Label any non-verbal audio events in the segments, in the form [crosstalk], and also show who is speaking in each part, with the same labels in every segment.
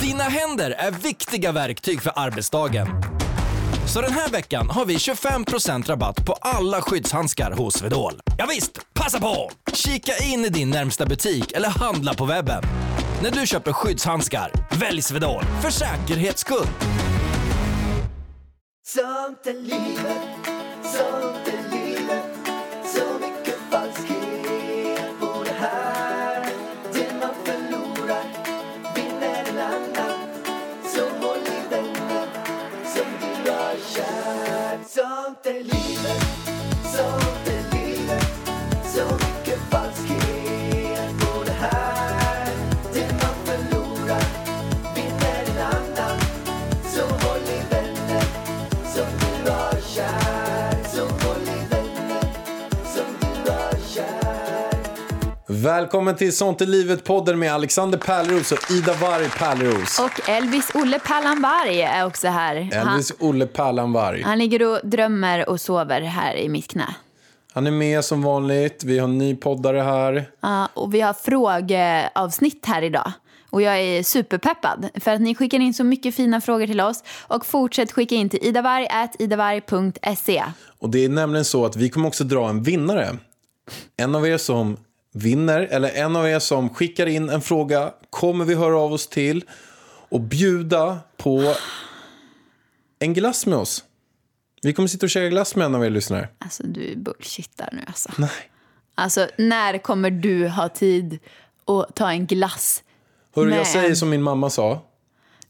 Speaker 1: Dina händer är viktiga verktyg för arbetsdagen. Så den här veckan har vi 25% rabatt på alla skyddshandskar hos Swedol. Ja visst, passa på! Kika in i din närmsta butik eller handla på webben. När du köper skyddshandskar, välj Swedol för säkerhets skull.
Speaker 2: Sånt är livet, sånt är livet Så mycket falskhet på det här Det man förlorar vinner en annan Så håll i vännen som du har kär Sånt är livet, sånt är livet Så mycket falskhet på det här Det man förlorar vinner en annan Så håll i vännen som du har kär Så håll i vännen som du har kär
Speaker 3: Välkommen till Sånt i livet-podden med Alexander Pärleros och Ida Warg Pärleros.
Speaker 4: Och Elvis Olle Pallanberg är också här. Han,
Speaker 3: Elvis Olle Pärlanvarg.
Speaker 4: han ligger och drömmer och sover här i mitt knä.
Speaker 3: Han är med som vanligt. Vi har en ny poddare här.
Speaker 4: Ja, och vi har frågeavsnitt här idag. Och jag är superpeppad för att ni skickar in så mycket fina frågor till oss. Och fortsätt skicka in till idavarg.idavarg.se.
Speaker 3: Och det är nämligen så att vi kommer också dra en vinnare. En av er som vinner, eller en av er som skickar in en fråga kommer vi höra av oss till och bjuda på en glass med oss. Vi kommer sitta och käka glass med en av er lyssnare.
Speaker 4: Alltså du bullshittar nu alltså. Nej. Alltså när kommer du ha tid att ta en glass?
Speaker 3: Hörru,
Speaker 4: Men-
Speaker 3: jag säger som min mamma sa.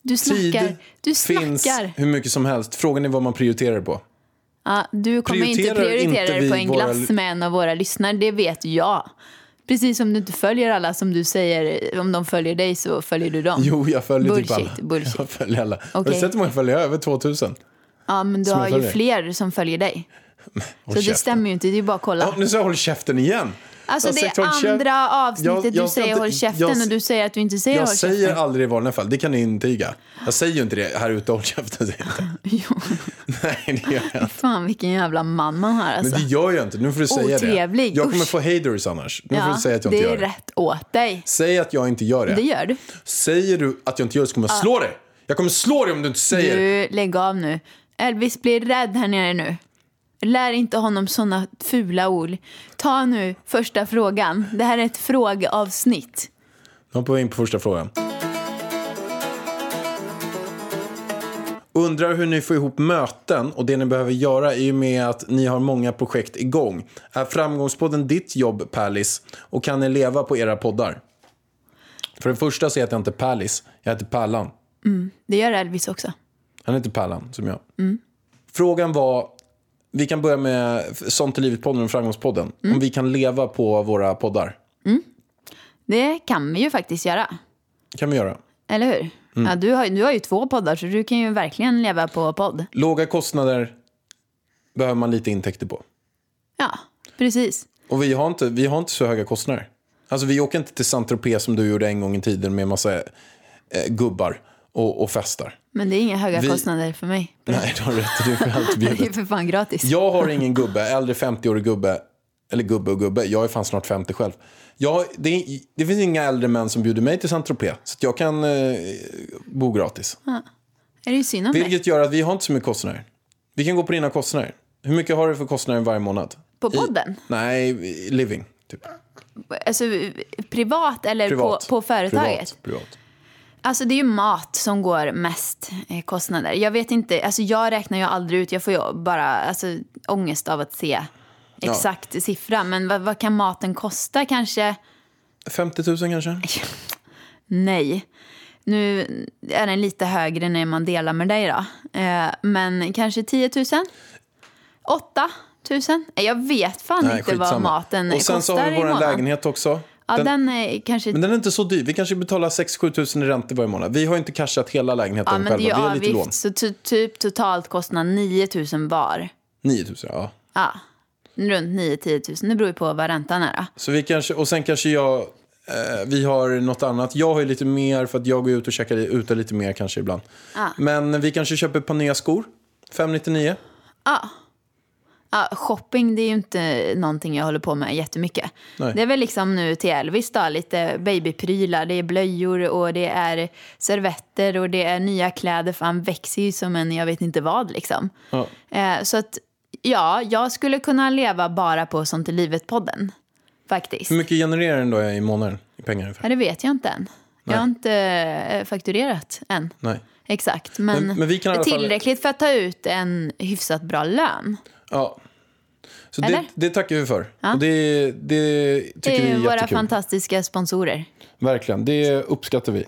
Speaker 4: Du
Speaker 3: Tid
Speaker 4: snackar. Du
Speaker 3: finns
Speaker 4: snackar.
Speaker 3: hur mycket som helst. Frågan är vad man prioriterar på.
Speaker 4: Ja, du kommer inte
Speaker 3: Prioriterar
Speaker 4: prioritera
Speaker 3: inte
Speaker 4: dig på
Speaker 3: vi
Speaker 4: en
Speaker 3: våra-
Speaker 4: glass med en av våra lyssnare, det vet jag. Precis som du inte följer alla som du säger, om de följer dig så följer du dem.
Speaker 3: Jo, jag följer
Speaker 4: bullshit,
Speaker 3: typ alla.
Speaker 4: Bullshit,
Speaker 3: Jag följer alla. Har du
Speaker 4: Okej.
Speaker 3: sett hur många följare? Jag har Över 2000.
Speaker 4: Ja, men du
Speaker 3: Som jag
Speaker 4: har ju
Speaker 3: följer.
Speaker 4: fler som följer dig. Så det
Speaker 3: käften.
Speaker 4: stämmer ju inte, det är bara att kolla.
Speaker 3: Ja, nu sa jag håll käften igen.
Speaker 4: alltså
Speaker 3: Jag har
Speaker 4: det
Speaker 3: sagt,
Speaker 4: är
Speaker 3: "Håll käft."
Speaker 4: andra avsnittet
Speaker 3: Jag- jag
Speaker 4: du
Speaker 3: ska
Speaker 4: säger
Speaker 3: inte-
Speaker 4: håll käften
Speaker 3: jag-
Speaker 4: och du säger att du inte säger
Speaker 3: Jag
Speaker 4: håll
Speaker 3: säger
Speaker 4: käften.
Speaker 3: aldrig i vanliga fall, det kan ni intyga. Jag säger ju inte det här ute, håll käften. säger jag
Speaker 4: [laughs]
Speaker 3: inte.
Speaker 4: [laughs] Jo,
Speaker 3: Nej, det gör jag inte.
Speaker 4: fan vilken jävla man man har
Speaker 3: Men
Speaker 4: alltså.
Speaker 3: det gör jag inte, nu får du säga
Speaker 4: Otrevlig,
Speaker 3: det. Jag kommer
Speaker 4: usch.
Speaker 3: få haters annars. Nu får
Speaker 4: ja,
Speaker 3: du säga att jag
Speaker 4: det
Speaker 3: inte
Speaker 4: är
Speaker 3: gör det.
Speaker 4: rätt åt dig.
Speaker 3: Säg att jag inte gör det.
Speaker 4: Det gör du.
Speaker 3: Säger du att jag inte gör det så kommer jag slå dig. Jag kommer slå dig om du inte säger
Speaker 4: Du, lägg av nu. Elvis blir rädd här nere nu. Lär inte honom såna fula ord. Ta nu första frågan. Det här är ett frågeavsnitt.
Speaker 3: Nu hoppar vi in på första frågan. Undrar hur ni får ihop möten och det ni behöver göra i och med att ni har många projekt igång. Är framgångspodden ditt jobb, Pärlis? Och kan ni leva på era poddar? För det första så heter jag inte Pärlis, jag heter Pärlan.
Speaker 4: Det gör Elvis också.
Speaker 3: Han heter Pärlan, som jag. Frågan var, vi kan börja med Sånt i livet-podden och Framgångspodden. Om vi kan leva på våra poddar.
Speaker 4: Det kan vi ju faktiskt göra.
Speaker 3: kan vi göra.
Speaker 4: Eller hur?
Speaker 3: Mm.
Speaker 4: Ja, du, har, du har ju två poddar så du kan ju verkligen leva på podd.
Speaker 3: Låga kostnader behöver man lite intäkter på.
Speaker 4: Ja, precis.
Speaker 3: Och vi har inte, vi har inte så höga kostnader. Alltså vi åker inte till Saint-Tropez som du gjorde en gång i tiden med massa eh, gubbar och, och festar.
Speaker 4: Men det är inga höga
Speaker 3: Vi-
Speaker 4: kostnader för mig.
Speaker 3: Nej, du har rätt. Du får allt
Speaker 4: Det är
Speaker 3: bjudet.
Speaker 4: för fan gratis.
Speaker 3: Jag har ingen gubbe, äldre 50-årig gubbe. Eller gubbe och gubbe, jag är fan snart 50 själv. Jag, det, är- det finns inga äldre män som bjuder mig till Saint-Tropez. Så att jag kan eh, bo gratis.
Speaker 4: Är det ju synd om mig?
Speaker 3: Vilket gör att vi har inte så mycket kostnader. Vi kan gå på dina kostnader. Hur mycket har du för kostnader varje månad?
Speaker 4: På podden?
Speaker 3: I, nej, i living. Typ.
Speaker 4: Alltså, privat eller
Speaker 3: Privat.
Speaker 4: På, på företaget?
Speaker 3: Privat, privat.
Speaker 4: Alltså det är ju mat som går mest eh, kostnader. Jag vet inte, alltså jag räknar ju aldrig ut, jag får ju bara alltså, ångest av att se exakt siffra. Men vad, vad kan maten kosta kanske?
Speaker 3: 50 000 kanske?
Speaker 4: Nej. Nu är den lite högre när man delar med dig då. Eh, men kanske 10 000? 8 000? Nej, Jag vet fan inte vad maten
Speaker 3: Och sen
Speaker 4: kostar
Speaker 3: så har vi
Speaker 4: i
Speaker 3: vår
Speaker 4: månaden.
Speaker 3: lägenhet också.
Speaker 4: Ja,
Speaker 3: den,
Speaker 4: den, är kanske...
Speaker 3: men den är inte så dyr. Vi kanske betalar 6-7 000 i räntor varje månad. Vi har ju inte cashat hela lägenheten
Speaker 4: ja, men
Speaker 3: själva.
Speaker 4: det är ju
Speaker 3: vi har lite lån.
Speaker 4: avgift, så ty- typ totalt kostnad 9 000 var.
Speaker 3: 9 000, ja.
Speaker 4: Ja, runt 9-10 000. Det beror ju på vad räntan är. Då.
Speaker 3: Så vi kanske, och sen kanske jag... Eh, vi har något annat. Jag har ju lite mer för att jag går ut och käkar ute lite mer kanske
Speaker 4: Ah.
Speaker 3: ibland. Men vi kanske köper ett par nya skor. 599.
Speaker 4: Ja. Ja, shopping det är ju inte någonting jag håller på med jättemycket.
Speaker 3: Nej.
Speaker 4: Det är väl liksom nu till Elvis då, lite babyprylar, det är blöjor och det är servetter och det är nya kläder för han växer ju som en jag vet inte vad liksom.
Speaker 3: Ja.
Speaker 4: Eh, så att ja, jag skulle kunna leva bara på Sånt i livet-podden faktiskt.
Speaker 3: Hur mycket genererar den då i månaden i pengar ungefär?
Speaker 4: Ja, det vet jag inte än. Jag har inte eh, fakturerat än.
Speaker 3: Nej.
Speaker 4: Exakt, men,
Speaker 3: Men- men vi kan i
Speaker 4: det är
Speaker 3: alla fall-
Speaker 4: tillräckligt för att ta ut en hyfsat bra lön.
Speaker 3: Ja. Så
Speaker 4: Eller?
Speaker 3: det, det tackar vi för. Och det, det
Speaker 4: Det
Speaker 3: tycker
Speaker 4: är
Speaker 3: vi är
Speaker 4: våra
Speaker 3: jättekul.
Speaker 4: fantastiska sponsorer.
Speaker 3: Verkligen, det uppskattar vi.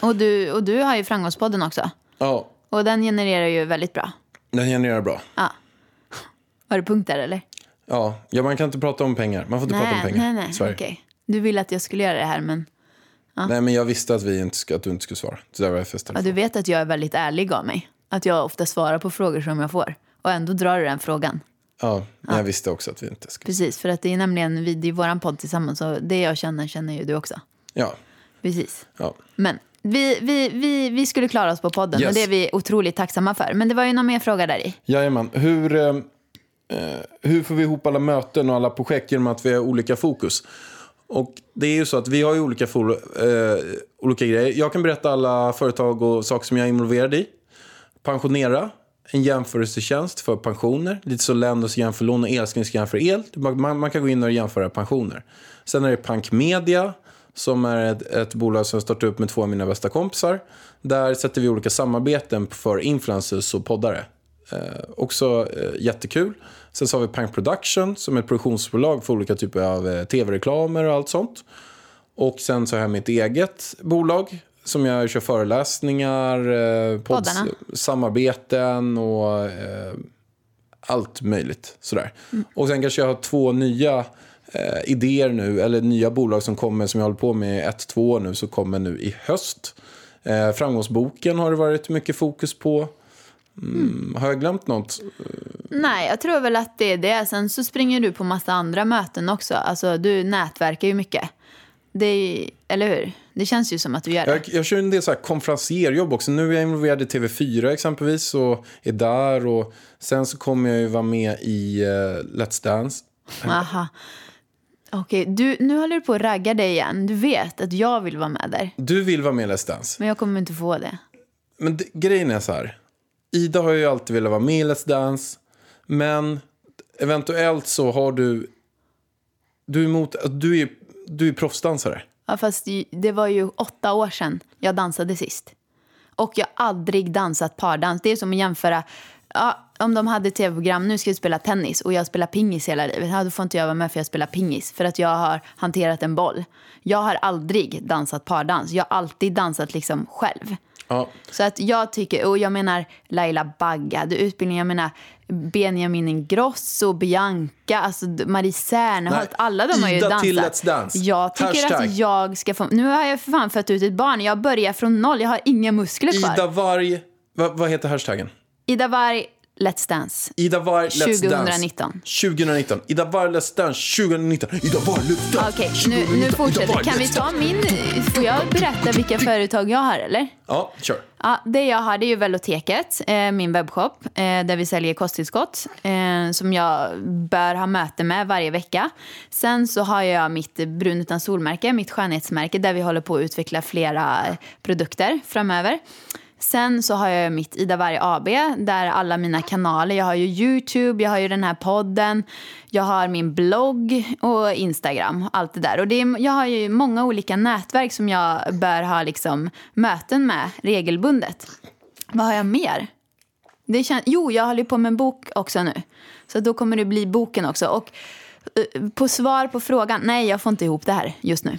Speaker 4: Och du, och du har ju Framgångspodden också.
Speaker 3: Ja,
Speaker 4: Och den genererar ju väldigt bra.
Speaker 3: den genererar bra.
Speaker 4: Var det punkt där eller?
Speaker 3: Ja. ja, man kan inte prata om pengar. Man får inte prata om pengar
Speaker 4: nej,
Speaker 3: i
Speaker 4: nej,
Speaker 3: Sverige.
Speaker 4: okej. Du ville att jag skulle göra det här men
Speaker 3: Nej, men jag visste att, vi inte, ska- att du inte skulle svara. Så där var jag festad.
Speaker 4: ja, du vet att jag är väldigt ärlig av mig. Att jag ofta svarar på frågor som jag får. Och ändå drar du den frågan.
Speaker 3: Ja, men jag visste också att vi inte skulle.
Speaker 4: Precis, för att det är nämligen, vi, det är våran podd tillsammans och det jag känner känner ju du också.
Speaker 3: Ja,
Speaker 4: Precis.
Speaker 3: ja.
Speaker 4: Men vi, vi, vi, vi skulle klara oss på podden
Speaker 3: Yes.
Speaker 4: och det är vi otroligt tacksamma för. Men det var ju någon mer fråga där i.
Speaker 3: Jajamän. Hur, eh, eh, hur får vi ihop alla möten och alla projekt genom att vi har olika fokus? Och det är ju så att vi har ju olika, for, eh, olika grejer. Jag kan berätta alla företag och saker som jag är involverad i. Pensionera, en jämförelsetjänst för pensioner. Lite så länder som jämför lån och älskling som jämför el. Man, man- man kan gå in och jämföra pensioner. Sen är det Pank Media som är ett, ett bolag som jag startade upp med två av mina bästa kompisar. Där sätter vi olika samarbeten för influencers och poddare. Eh, också eh, jättekul. Sen så har vi Pank Production som är ett produktionsbolag för olika typer av eh, tv-reklamer och allt sånt. Och sen så har jag mitt eget bolag som jag kör föreläsningar, eh, pods,
Speaker 4: Poddarna.
Speaker 3: samarbeten och eh, allt möjligt. Sådär. Och sen kanske jag har två nya eh, idéer nu, eller nya bolag som kommer som jag håller på med i ett, två år nu, som kommer nu i höst. Eh, framgångsboken har det varit mycket fokus på. Mm. Har jag glömt något?
Speaker 4: Nej, jag tror väl att det är det. Sen så springer du på massa andra möten också. Alltså, du nätverkar ju mycket. Det är, eller hur? Det känns ju som att du gör det.
Speaker 3: Jag, jag kör en del så här konferensierjobb också. Nu är jag involverad i TV4 exempelvis och är där. Och sen så kommer jag ju vara med i eh, Let's Dance.
Speaker 4: Aha. Okej, du, nu håller du på att ragga dig igen. Du vet att jag vill vara med där.
Speaker 3: Du vill vara med i Let's Dance.
Speaker 4: Men jag kommer inte få det.
Speaker 3: Men det, grejen är så här. Ida har ju alltid velat vara med i Let's Dance. Men eventuellt så har du... Du är, emot, du är, du är proffsdansare.
Speaker 4: Ja, fast ju- det var ju åtta år sedan jag dansade sist. Och jag har aldrig dansat pardans. Det är som att jämföra... Ja, om de hade tv-program, nu ska vi spela tennis och jag spelar pingis hela livet. Ja, då får inte jag vara med för jag spelar pingis. För att jag har hanterat en boll. Jag har aldrig dansat pardans. Jag har alltid dansat liksom själv.
Speaker 3: Ja.
Speaker 4: Så att jag tycker, och jag menar Laila Baggad, utbildning, jag menar Benjamin Ingrosso, Bianca, alltså Marie Serneholt,
Speaker 3: Nej,
Speaker 4: alla de har ju
Speaker 3: Ida
Speaker 4: dansat.
Speaker 3: till Let's Dance.
Speaker 4: Jag tycker
Speaker 3: Hashtag.
Speaker 4: att jag ska få, nu har jag för fan fött ut ett barn, jag börjar från noll, jag har inga muskler kvar.
Speaker 3: Ida
Speaker 4: Ida,
Speaker 3: Varg... Vad, vad heter hashtaggen?
Speaker 4: Ida Warg, Let's Dance.
Speaker 3: Ida Varg Let's
Speaker 4: 2019.
Speaker 3: Dance. 2019. Ida Varg Let's Dance 2019. Ida Varg Let's Dance
Speaker 4: Okej, nu, nu
Speaker 3: 2019. Ida
Speaker 4: fortsätter
Speaker 3: Warg,
Speaker 4: Kan vi
Speaker 3: Let's
Speaker 4: ta
Speaker 3: Dance.
Speaker 4: min, får jag berätta vilka företag jag har eller?
Speaker 3: Ja, kör.
Speaker 4: Ja, det jag har det är ju Veloteket, eh, min webbshop, eh, där vi säljer kosttillskott eh, som jag bör ha möte med varje vecka. Sen så har jag mitt brun utan solmärke, mitt skönhetsmärke där vi håller på att utveckla flera produkter framöver. Sen så har jag mitt Ida Varg AB där alla mina kanaler, jag har ju Youtube, jag har ju den här podden, jag har min blogg och Instagram, allt det där. Och det är, jag har ju många olika nätverk som jag bör ha liksom möten med regelbundet. Vad har jag mer? Det kän- jo, jag håller ju på med en bok också nu. Så då kommer det bli boken också. Och eh, på svar på frågan, nej jag får inte ihop det här just nu.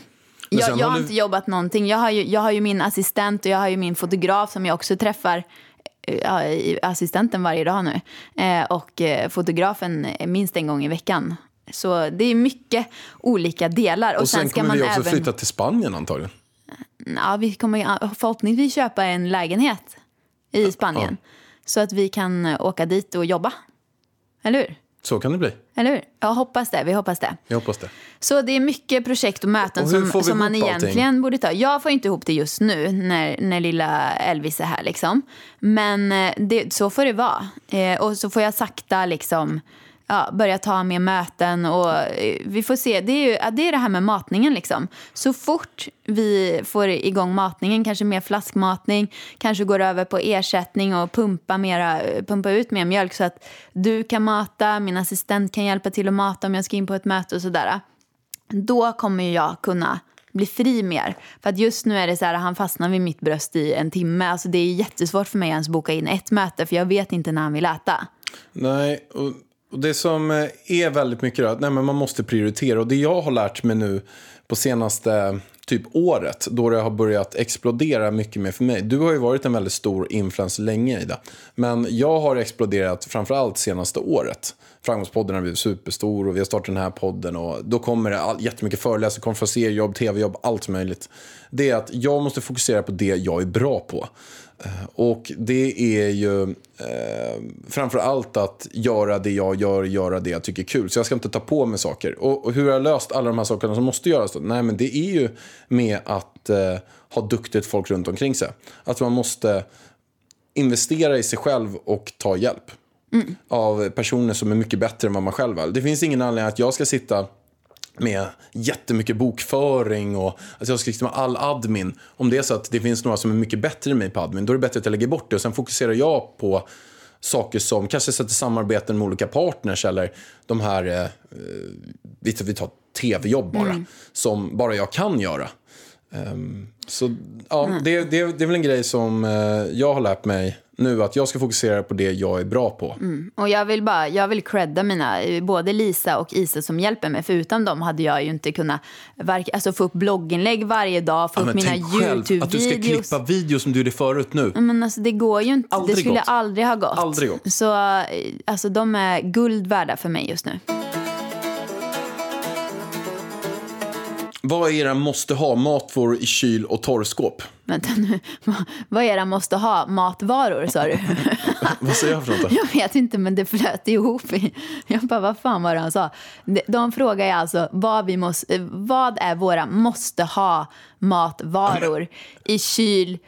Speaker 3: Men
Speaker 4: Jag,
Speaker 3: sen
Speaker 4: jag
Speaker 3: har
Speaker 4: har
Speaker 3: du-
Speaker 4: inte jobbat någonting. Jag har, ju, jag har ju min assistent och jag har ju min fotograf som jag också träffar eh, ja, i- assistenten varje dag nu. Eh, och eh, fotografen eh, minst en gång i veckan. Så det är mycket olika delar. Och,
Speaker 3: Och sen,
Speaker 4: sen ska
Speaker 3: kommer
Speaker 4: man
Speaker 3: vi också
Speaker 4: även...
Speaker 3: flytta till Spanien antagligen.
Speaker 4: Ja, vi kommer ju förhoppningsvis köpa en lägenhet i Spanien. Så att vi kan eh, åka dit och jobba. Eller hur?
Speaker 3: Så kan det bli.
Speaker 4: Eller hur? Jag hoppas det. Vi hoppas det.
Speaker 3: Jag hoppas det.
Speaker 4: Så det är mycket projekt och möten
Speaker 3: Och hur får
Speaker 4: som,
Speaker 3: vi
Speaker 4: som man
Speaker 3: ihop
Speaker 4: egentligen borde ta. Jag får inte ihop det just nu när, när lilla Elvis är här. Liksom. Men eh, det, så får det vara. Eh, och så får jag sakta liksom, ja, ja, börja ta mer möten och eh, vi får se. Det är ju ja, det, är det här med matningen liksom. Så fort vi får igång matningen, kanske mer flaskmatning, kanske går över på ersättning och pumpa, mera, eh, pumpa ut mer mjölk så att du kan mata, min assistent kan hjälpa till att mata om jag ska in på ett möte och sådär då kommer ju jag kunna bli fri mer. För att just nu är det så här, han fastnar vid mitt bröst i en timme. Alltså det är jättesvårt för mig att ens boka in ett möte för jag vet inte när han vill äta.
Speaker 3: Nej, och, och det som eh, är väldigt mycket är att nej, men man måste prioritera. Och det jag har lärt mig nu på senaste typ året, då det har börjat explodera mycket mer för mig. Du har ju varit en väldigt stor influencer länge, Ida. Men jag har exploderat framförallt senaste året. Framgångspodden har blivit superstor och vi har startat den här podden. Och då kommer det all, jättemycket föreläsningar, konferenser, jobb, tv-jobb, allt möjligt. Det är att jag måste fokusera på det jag är bra på. Och det är ju eh, framför allt att göra det jag gör, göra det jag tycker är kul. Så jag ska inte ta på mig saker. Och, och hur har jag löst alla de här sakerna som måste göras? Då? Nej, men det är ju med att eh, ha duktigt folk runt omkring sig. Att man måste investera i sig själv och ta hjälp av personer som är mycket bättre än vad man själv är. Det finns ingen anledning att jag ska sitta med jättemycket bokföring och att jag ska liksom ha all admin. Om det är så att det finns några som är mycket bättre än mig på admin, då är det bättre att jag lägger bort det och sen fokuserar jag på saker som kanske sätter samarbeten med olika partners eller de här, eh, eh, vi tar- vi tar tv-jobb bara,
Speaker 4: Mm.
Speaker 3: som bara jag kan göra. Ehm, så ja,
Speaker 4: Mm.
Speaker 3: det, det, det är väl en grej som eh, jag har lärt mig nu, att jag ska fokusera på det jag är bra på.
Speaker 4: Mm. Och jag vill bara, jag vill credda mina, både Lisa och Isa som hjälper mig. För utan dem hade jag ju inte kunnat verka, alltså få upp blogginlägg varje dag, få
Speaker 3: Ja,
Speaker 4: upp
Speaker 3: men
Speaker 4: mina
Speaker 3: tänk själv att du ska
Speaker 4: YouTube-videos.
Speaker 3: klippa video som du gjorde förut nu.
Speaker 4: Men alltså det går ju inte,
Speaker 3: Aldrig
Speaker 4: det skulle
Speaker 3: gått.
Speaker 4: aldrig ha gått.
Speaker 3: Aldrig gått.
Speaker 4: Så eh, alltså de är guld värda för mig just nu.
Speaker 3: Vad är era måste ha-matvaror i kyl och torrskåp?
Speaker 4: Vänta nu, [laughs] vad- vad är det han måste ha? Matvaror sa du? [laughs]
Speaker 3: Vad säger jag för något? då?
Speaker 4: Jag vet inte, men det flöt ihop. i- [laughs] Jag bara, vad fan var det han sa? De- De frågar ju alltså, vad, vi måste, eh, vad är våra måste ha-matvaror i kyl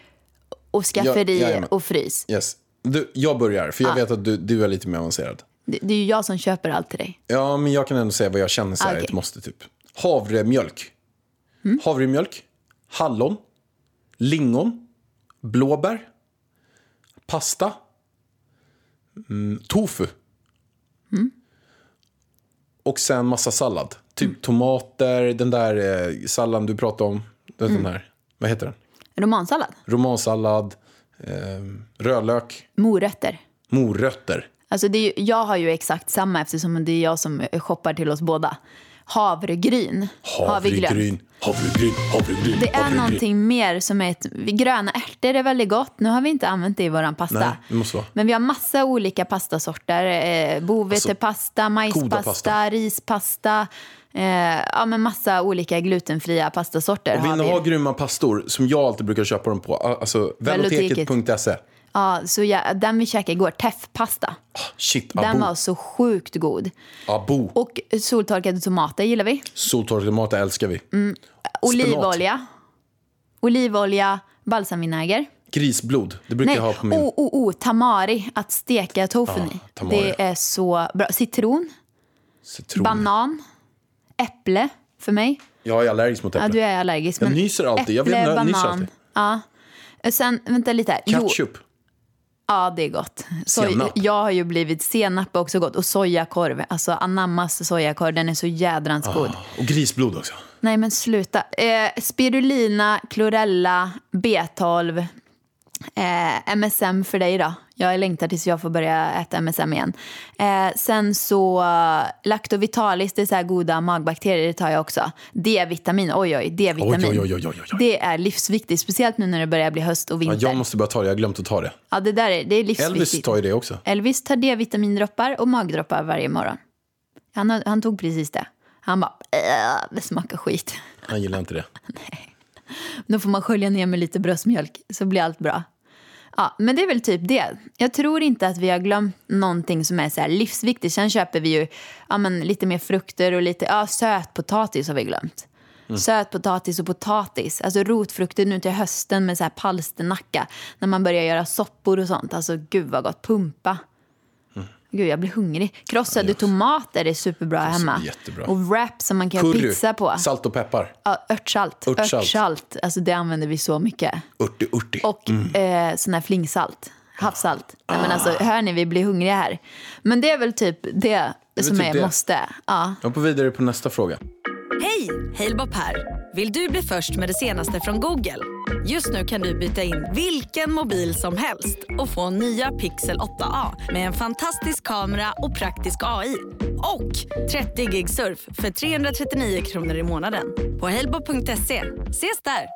Speaker 4: och skafferi
Speaker 3: Ja, jajamän.
Speaker 4: och frys?
Speaker 3: Yes. Du, jag börjar, för jag vet att du, du är lite mer avancerad.
Speaker 4: Det, det är ju jag som köper allt till dig.
Speaker 3: Ja, men jag kan ändå säga vad jag känner så här
Speaker 4: Okej.
Speaker 3: ett måste typ. Havremjölk. Havremjölk, hallon, lingon, blåbär, pasta, mm, tofu. Och sen massa sallad. Typ tomater, den där eh, salladen du pratade om. Den, den här, vad heter den?
Speaker 4: Romansallad,
Speaker 3: Romansallad, eh, rödlök,
Speaker 4: morötter.
Speaker 3: morötter.
Speaker 4: Alltså det är ju, jag har ju exakt samma eftersom det är jag som shoppar till oss båda. Havregryn.
Speaker 3: Havregryn, havregryn, havregryn.
Speaker 4: Det är
Speaker 3: havregryn.
Speaker 4: någonting mer som är ett... Gröna ärtor är väldigt gott. Nu har vi inte använt det i våran pasta.
Speaker 3: Nej, det måste vara.
Speaker 4: Men vi har massa olika pastasorter. Eh, Bovetepasta, majspasta,
Speaker 3: Alltså, pasta.
Speaker 4: rispasta. Eh, ja, men massa olika glutenfria pastasorter
Speaker 3: Vill
Speaker 4: har
Speaker 3: ni
Speaker 4: vi.
Speaker 3: ha grymma pastor, som jag alltid brukar köpa dem på, alltså
Speaker 4: Veloteket.
Speaker 3: veloteket.se.
Speaker 4: Ja, så jag, den vi käkade igår, teffpasta,
Speaker 3: Ah, Shit,
Speaker 4: den
Speaker 3: abo.
Speaker 4: var så sjukt god.
Speaker 3: Abo.
Speaker 4: Och soltorkade tomater gillar vi.
Speaker 3: Soltorkade tomater älskar vi.
Speaker 4: Mm. Olivolja. Olivolja, balsamvinäger.
Speaker 3: Grisblod, det brukar
Speaker 4: Nej,
Speaker 3: jag ha på min.
Speaker 4: oh, oh, oh, tamari, att steka tofun i.
Speaker 3: Ah, tamari.
Speaker 4: det är så bra. Citron,
Speaker 3: Citron.
Speaker 4: banan, äpple för mig.
Speaker 3: Jag är allergisk mot äpple.
Speaker 4: Ja, du är allergisk.
Speaker 3: Jag
Speaker 4: Men
Speaker 3: nyser alltid. Jag vet,
Speaker 4: äpple,
Speaker 3: jag nyser
Speaker 4: banan.
Speaker 3: alltid.
Speaker 4: Ja. Sen, vänta lite här. Jo,
Speaker 3: Ketchup.
Speaker 4: ja, det är gott. Soj,
Speaker 3: Senap.
Speaker 4: jag har ju blivit senap är också gott. Och sojakorv. Alltså anammas sojakorv, den är så jädrans
Speaker 3: Ah.
Speaker 4: god.
Speaker 3: Och grisblod också.
Speaker 4: Nej, men sluta. Eh, spirulina, chlorella, B12, eh, MSM för dig då. Jag längtar tills jag får börja äta MSM igen. Eh, sen så eh, Lactovitalis, det är så här goda magbakterier, det tar jag också. D-vitamin, oj oj,
Speaker 3: Oj,
Speaker 4: D-vitamin.
Speaker 3: oj, oj, oj, oj, oj. oj.
Speaker 4: Det är livsviktigt, speciellt nu när det börjar bli höst och
Speaker 3: Ja,
Speaker 4: vinter.
Speaker 3: jag måste börja ta det, jag har glömt att ta det.
Speaker 4: Ja, det där är, det är livsviktigt.
Speaker 3: Elvis tar ju det också.
Speaker 4: Elvis tar D-vitamindroppar och magdroppar varje morgon. Han, har- han tog precis det. Han bara, "Äh, det smakar skit.
Speaker 3: Han gillar inte det.
Speaker 4: Då får man skölja ner med lite bröstmjölk så blir allt bra. Ja, men det är väl typ det. Jag tror inte att vi har glömt någonting som är så här livsviktigt. Sen köper vi ju ja, men lite mer frukter och lite ja, sötpotatis har vi glömt. Sötpotatis och potatis, alltså rotfrukter nu till hösten med så här palsternacka. När man börjar göra soppor och sånt, alltså gud vad gott. Pumpa. Gud, jag blir hungrig. Krossade tomater är superbra hemma.
Speaker 3: jättebra.
Speaker 4: Och wrap som man kan göra pizza på.
Speaker 3: salt och peppar.
Speaker 4: Ja, örtsalt.
Speaker 3: Örtsalt.
Speaker 4: Örtsalt. Alltså det använder vi så mycket.
Speaker 3: Urti, urti.
Speaker 4: Och
Speaker 3: Mm.
Speaker 4: eh, sån här flingsalt. Havssalt. Nej, men alltså, hör ni, vi blir hungriga här. Men det är väl typ det,
Speaker 3: väl
Speaker 4: som
Speaker 3: typ
Speaker 4: är
Speaker 3: det.
Speaker 4: måste. Ja.
Speaker 3: Jag hoppar vidare på nästa fråga.
Speaker 5: Hej! Halebop här. Vill du bli först med det senaste från Google? Just nu kan du byta in vilken mobil som helst och få nya Pixel 8A med en fantastisk kamera och praktisk AI. Och 30 gig surf för 339 kronor i månaden på halebop.se. Ses där!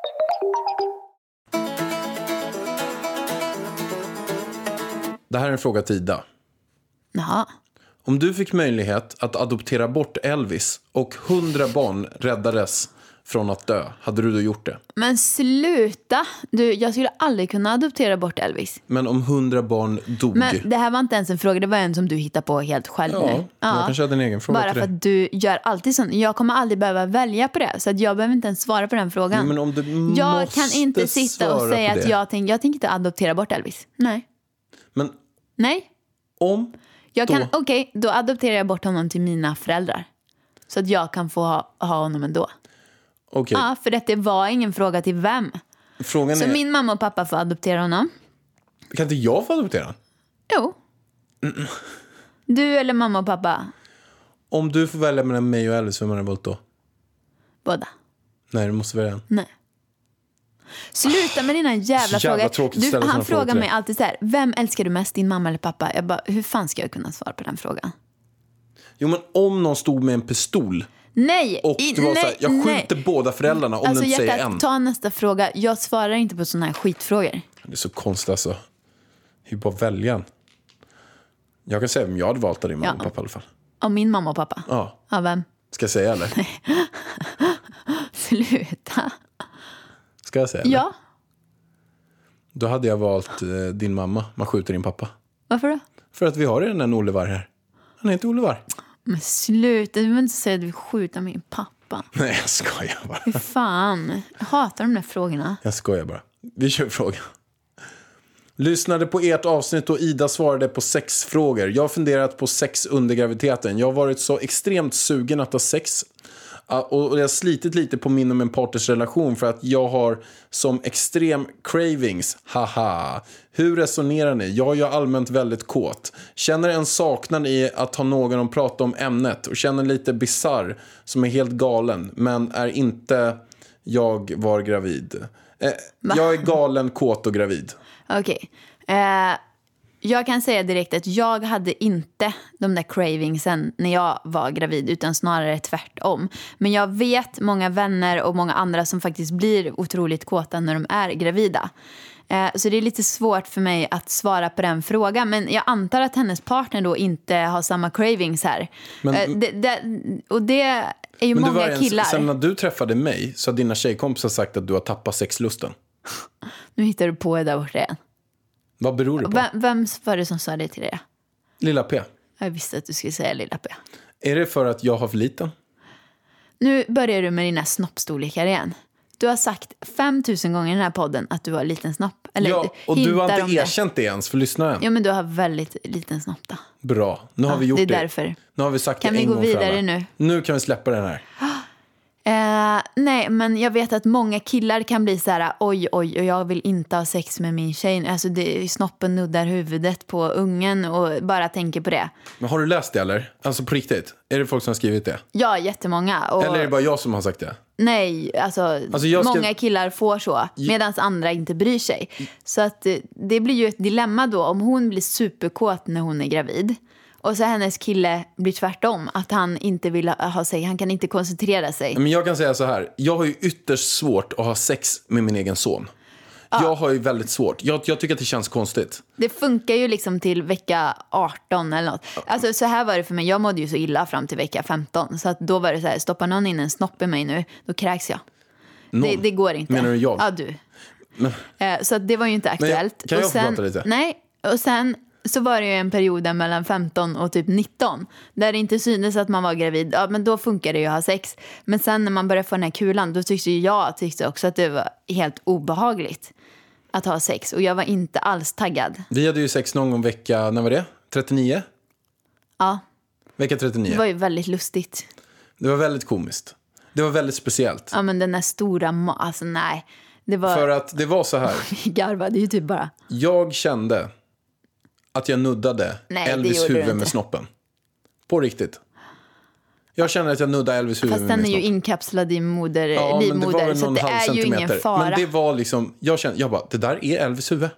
Speaker 3: Det här är en fråga till Ida.
Speaker 4: Jaha.
Speaker 3: Om du fick möjlighet att adoptera bort Elvis och 100 barn räddades från att dö, hade du då gjort det?
Speaker 4: Men sluta! Du, jag skulle aldrig kunna adoptera bort Elvis.
Speaker 3: Men om 100 barn dog?
Speaker 4: Men det här var inte ens en fråga, det var en som du hittade på helt själv
Speaker 3: Ja,
Speaker 4: nu.
Speaker 3: jag kanske hade en egen fråga
Speaker 4: Bara
Speaker 3: till
Speaker 4: för
Speaker 3: dig.
Speaker 4: att du gör alltid sånt. Jag kommer aldrig behöva välja på det, så att jag behöver inte ens svara på den frågan.
Speaker 3: Jo, men om du
Speaker 4: jag
Speaker 3: måste
Speaker 4: kan inte sitta
Speaker 3: svara
Speaker 4: och
Speaker 3: på
Speaker 4: säga att
Speaker 3: det.
Speaker 4: jag tänker jag tänker inte adoptera bort Elvis. Nej.
Speaker 3: Men
Speaker 4: Nej.
Speaker 3: om...
Speaker 4: Jag kan,
Speaker 3: Då.
Speaker 4: okej, då adopterar jag bort honom till mina föräldrar. Så att jag kan få ha, ha honom ändå.
Speaker 3: Okej,
Speaker 4: Ja, för att det var ingen fråga till vem.
Speaker 3: frågan
Speaker 4: Så
Speaker 3: är...
Speaker 4: min mamma och pappa får adoptera honom.
Speaker 3: Kan inte jag få adoptera?
Speaker 4: Jo. Du eller mamma och pappa?
Speaker 3: Om du får välja mellan mig och Elvis, vem hade du valt då?
Speaker 4: Båda.
Speaker 3: Nej, du måste välja en.
Speaker 4: Nej. Sluta med dina jävla,
Speaker 3: Så Ah, jävla
Speaker 4: frågor.
Speaker 3: tråkigt att ställa
Speaker 4: Du, han
Speaker 3: såna frågor
Speaker 4: frågar
Speaker 3: till
Speaker 4: mig
Speaker 3: dig.
Speaker 4: alltid så här, vem älskar du mest, din mamma eller pappa? Jag bara, hur fan ska jag kunna svara på den frågan?
Speaker 3: Jo, men om någon stod med en pistol
Speaker 4: Nej!
Speaker 3: och
Speaker 4: i-
Speaker 3: du var
Speaker 4: nej,
Speaker 3: så här, jag skjuter
Speaker 4: nej.
Speaker 3: båda föräldrarna om
Speaker 4: Alltså
Speaker 3: du inte säger
Speaker 4: hjärtat,
Speaker 3: en.
Speaker 4: ta nästa fråga. Jag svarar inte på såna här skitfrågor.
Speaker 3: Det är så konstigt alltså. Det är ju bara att välja en. Jag kan säga vem jag hade valt av din mamma
Speaker 4: Ja.
Speaker 3: och pappa i alla fall.
Speaker 4: Av min mamma och pappa?
Speaker 3: Ja.
Speaker 4: Av vem? [laughs]
Speaker 3: Ska jag säga eller?
Speaker 4: Sluta.
Speaker 3: Ska jag säga eller?
Speaker 4: Ja,
Speaker 3: Då hade jag valt eh, din mamma. Man skjuter din pappa.
Speaker 4: varför då?
Speaker 3: För att vi har redan en Olivar här. Han heter Olivar.
Speaker 4: Men sluta, du behöver inte säga att du skjuter min pappa.
Speaker 3: [laughs] Nej, jag skojar bara.
Speaker 4: Fy fan, jag hatar de där frågorna.
Speaker 3: Jag skojar bara. Vi kör frågan. Lyssnade på ert avsnitt och Ida svarade på sex frågor. Jag har funderat på sex under graviditeten. Jag har varit så extremt sugen att ha sex. Ah, Och och jag har slitit lite på min och min partners relation för att jag har som extrem cravings. Haha. Hur resonerar ni? Jag är ju allmänt väldigt kåt. Känner en saknad i att ha någon att prata om ämnet och känner lite bizarr som är helt galen men är inte jag var gravid. Eh, jag är galen, kåt och gravid.
Speaker 4: Okej. Eh, jag kan säga direkt att jag hade inte de där cravingsen när jag var gravid, utan snarare tvärtom. Men jag vet många vänner och många andra som faktiskt blir otroligt kåta när de är gravida. Eh, Så det är lite svårt för mig att svara på den frågan. Men jag antar att hennes partner då inte har samma cravings här.
Speaker 3: Men-
Speaker 4: Eh, det, det, och det är ju
Speaker 3: Men det var
Speaker 4: många
Speaker 3: en-
Speaker 4: killar.
Speaker 3: Sen när du träffade mig så har dina tjejkompisar sagt att du har tappat sexlusten.
Speaker 4: Nu hittar du på det där borta igen.
Speaker 3: Vad beror det på?
Speaker 4: Vem, vem var det som sa det till dig?
Speaker 3: Lilla P.
Speaker 4: Jag visste att du skulle säga lilla P.
Speaker 3: Är det för att jag har för liten?
Speaker 4: Nu börjar du med dina snoppstorlekar igen. Du har sagt 5000 gånger i den här podden att du har liten snopp. Eller
Speaker 3: Ja, och du
Speaker 4: hintar
Speaker 3: har
Speaker 4: om
Speaker 3: inte erkänt det ens för lyssnaren.
Speaker 4: Det. Ja, men du har väldigt liten snopp då.
Speaker 3: Bra, nu har vi gjort
Speaker 4: det
Speaker 3: det.
Speaker 4: är därför.
Speaker 3: Nu har vi sagt
Speaker 4: Kan
Speaker 3: det
Speaker 4: vi
Speaker 3: en
Speaker 4: gå
Speaker 3: gång för
Speaker 4: vidare
Speaker 3: alla.
Speaker 4: nu?
Speaker 3: Nu kan vi släppa den här.
Speaker 4: Eh, nej, men jag vet att många killar kan bli så här, oj, oj, och jag vill inte ha sex med min tjej. Alltså, det, snoppen nuddar huvudet på ungen och bara tänker på det.
Speaker 3: Men har du läst det eller? Alltså på riktigt? Är det folk som har skrivit det?
Speaker 4: Ja, jättemånga. Och
Speaker 3: Eller är det bara jag som har sagt det?
Speaker 4: Nej, alltså,
Speaker 3: jag ska-
Speaker 4: många killar får så medan andra inte bryr sig. Så att eh, det blir ju ett dilemma då om hon blir superkåt när hon är gravid och så hennes kille blir tvärtom, att han inte vill ha, ha sig, han kan inte koncentrera sig.
Speaker 3: Men jag kan säga så här. Jag har ju ytterst svårt att ha sex med min egen son. Jag har ju väldigt svårt. Jag, jag tycker att det känns konstigt.
Speaker 4: Det funkar ju liksom till vecka 18 eller något. Alltså så här var det för mig, jag mådde ju så illa fram till vecka 15 så att då var det så här, stoppar någon in en snopp i mig nu, då kräks jag. Det, det går inte.
Speaker 3: Menar du jag?
Speaker 4: Ja, du. Eh, Så att det var ju inte
Speaker 3: Men jag-
Speaker 4: aktuellt.
Speaker 3: kan jag
Speaker 4: och
Speaker 3: få
Speaker 4: sen,
Speaker 3: prata lite?
Speaker 4: Nej, och sen så var det ju en period där mellan 15 och typ 19 där det inte syntes att man var gravid. Ja, men då funkade det ju att ha sex. Men sen när man började få den här kulan, då tyckte ju jag tyckte också att det var helt obehagligt att ha sex. Och jag var inte alls taggad.
Speaker 3: Vi hade ju sex någon gång vecka, när var det? 39?
Speaker 4: Ja,
Speaker 3: Vecka
Speaker 4: det
Speaker 3: 39.
Speaker 4: var ju väldigt lustigt.
Speaker 3: Det var väldigt komiskt. Det var väldigt speciellt.
Speaker 4: Ja, men den där stora ma- Alltså nej. Det var...
Speaker 3: För att det var så här.
Speaker 4: [laughs] Vi garvade ju typ bara.
Speaker 3: Jag kände att jag nuddade
Speaker 4: Nej, det
Speaker 3: Elvis
Speaker 4: gjorde du
Speaker 3: huvud
Speaker 4: inte.
Speaker 3: med snoppen. På riktigt. Jag kände att jag nuddade Elvis huvud
Speaker 4: Fast
Speaker 3: med
Speaker 4: den
Speaker 3: min
Speaker 4: är ju
Speaker 3: snopp.
Speaker 4: inkapslad i moder,
Speaker 3: Ja, men det var
Speaker 4: livmoder,
Speaker 3: väl
Speaker 4: så
Speaker 3: någon
Speaker 4: det
Speaker 3: halv
Speaker 4: är ju ingen
Speaker 3: centimeter.
Speaker 4: fara.
Speaker 3: Men det
Speaker 4: Men,
Speaker 3: var liksom, jag kände, jag bara, det där är Elvis huvud.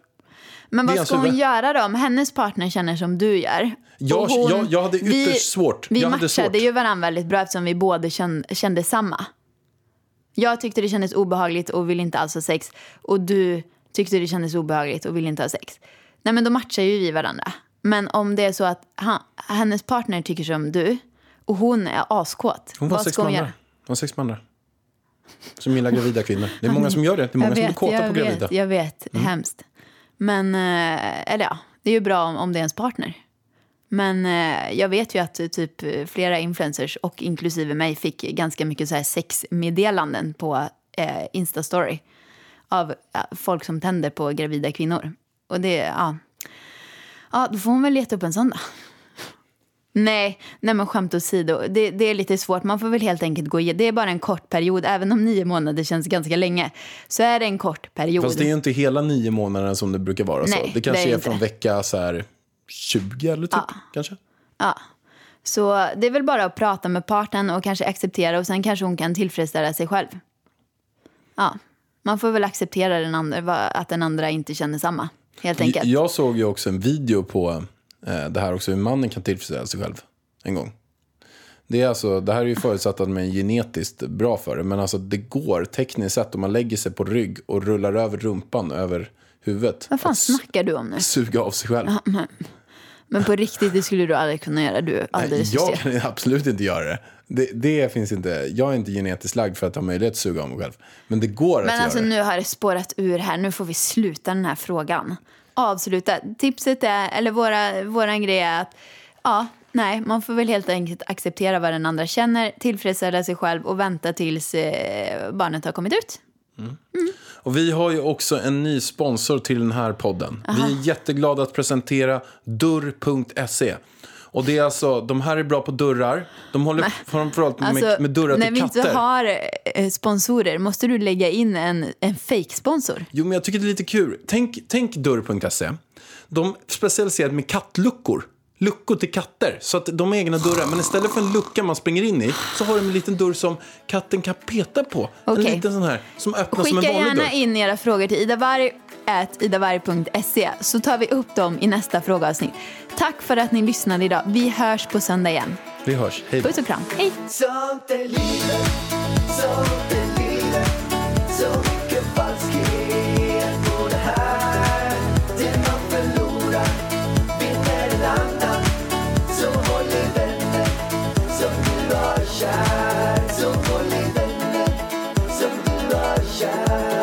Speaker 3: det är alltså
Speaker 4: vad
Speaker 3: hans
Speaker 4: ska hon
Speaker 3: huvud.
Speaker 4: göra då om hennes partner känner som du gör?
Speaker 3: Jag-
Speaker 4: Och hon-
Speaker 3: jag- jag hade ytterst svårt.
Speaker 4: Vi
Speaker 3: Jag hade
Speaker 4: matchade
Speaker 3: svårt.
Speaker 4: ju varandra väldigt bra eftersom vi båda kände, kände samma. Jag tyckte det kändes obehagligt och ville inte alls ha sex. Och du tyckte det kändes obehagligt och ville inte ha sex. Nej men då matchar ju vi varandra. Men om det är så att han, hennes partner tycker som du och hon är askåt.
Speaker 3: Hon var
Speaker 4: vad
Speaker 3: sex
Speaker 4: ska
Speaker 3: med
Speaker 4: hon
Speaker 3: andra.
Speaker 4: göra?
Speaker 3: Hon var sex med andra. Som gillar gravida kvinnor. Det är många som gör det. Det är många
Speaker 4: Jag
Speaker 3: som är
Speaker 4: vet,
Speaker 3: kåta på
Speaker 4: jag
Speaker 3: gravida.
Speaker 4: Vet, jag vet,
Speaker 3: Mm.
Speaker 4: hemskt. Men, eh, eller ja, det är ju bra om, om det är ens partner. Men eh, jag vet ju att eh, typ eh, flera influencers och inklusive mig fick ganska mycket så här sexmeddelanden på eh, Insta-story av ja, folk som tänder på gravida kvinnor. Och det, ja. Ja, då får hon väl leta upp en sån då. Nej, nej men skämt åsido. Det, det är lite svårt. Man får väl helt enkelt gå igen. Det är bara en kort period. Även om nio månader känns ganska länge så är det en kort period.
Speaker 3: Fast det är ju inte hela nio månader som det brukar vara.
Speaker 4: Nej,
Speaker 3: så. Det kanske
Speaker 4: det är
Speaker 3: är,
Speaker 4: inte.
Speaker 3: från vecka så här 20 eller typ. Kanske.
Speaker 4: Så det är väl bara att prata med parten och kanske acceptera och sen kanske hon kan tillfredsställa sig själv. Ja, man får väl acceptera den andra, va- att den andra inte känner samma, helt enkelt.
Speaker 3: J- Jag såg ju också en video på eh, det här också hur mannen kan tillfredsställa sig själv en gång. Det, är alltså, det här är ju förutsatt att man är genetiskt bra för det, men alltså det går tekniskt sett om man lägger sig på rygg och rullar över rumpan över huvudet.
Speaker 4: Vad fan
Speaker 3: att su-
Speaker 4: snackar du om nu?
Speaker 3: suga av sig själv.
Speaker 4: Men på riktigt, det skulle du aldrig kunna göra. Du är
Speaker 3: Nej,
Speaker 4: alldeles för
Speaker 3: jag
Speaker 4: stel.
Speaker 3: kan absolut inte göra det. det. Det finns inte. Jag är inte genetiskt lagd för att ha möjlighet att suga av mig själv. Men det går att
Speaker 4: Men alltså
Speaker 3: göra det.
Speaker 4: nu har det spårat ur här. Nu får vi sluta den här frågan. Avsluta. Tipset är, eller våra, våran grej är att ja, nej, man får väl helt enkelt acceptera vad den andra känner, tillfredsställa sig själv och vänta tills eh, barnet har kommit ut.
Speaker 3: Och vi har ju också en ny sponsor till den här podden. Vi är jätteglada att presentera Dörr.se. Och det är alltså, de här är bra på dörrar. De håller framförallt med,
Speaker 4: Alltså,
Speaker 3: med dörrar
Speaker 4: när
Speaker 3: till
Speaker 4: vi
Speaker 3: katter.
Speaker 4: inte har eh, sponsorer, måste du lägga in en, en fake-sponsor?
Speaker 3: Jo, men jag tycker det är lite kul. Tänk, tänk dörr.se. De specialiserar med kattluckor. Luckor till katter. Så att de har egna dörrar. Men istället för en lucka man springer in i så har de en liten dörr som katten kan peta på.
Speaker 4: Okej.
Speaker 3: En liten sån här som öppnas som
Speaker 4: Skicka
Speaker 3: en vanlig
Speaker 4: gärna
Speaker 3: dörr.
Speaker 4: in era frågor till idavarg.idavarg.se så tar vi upp dem i nästa frågeavsnitt. Tack för att ni lyssnade idag. Vi hörs på söndag igen.
Speaker 3: Vi hörs. Hej då.
Speaker 4: Puss och kram. Hej!
Speaker 2: Sånt är livet, sånt är livet Så mycket falskhet på det här Det man förlorar vinner en annan Så håll i vänner som du har kär Så håll i vänner som du har kär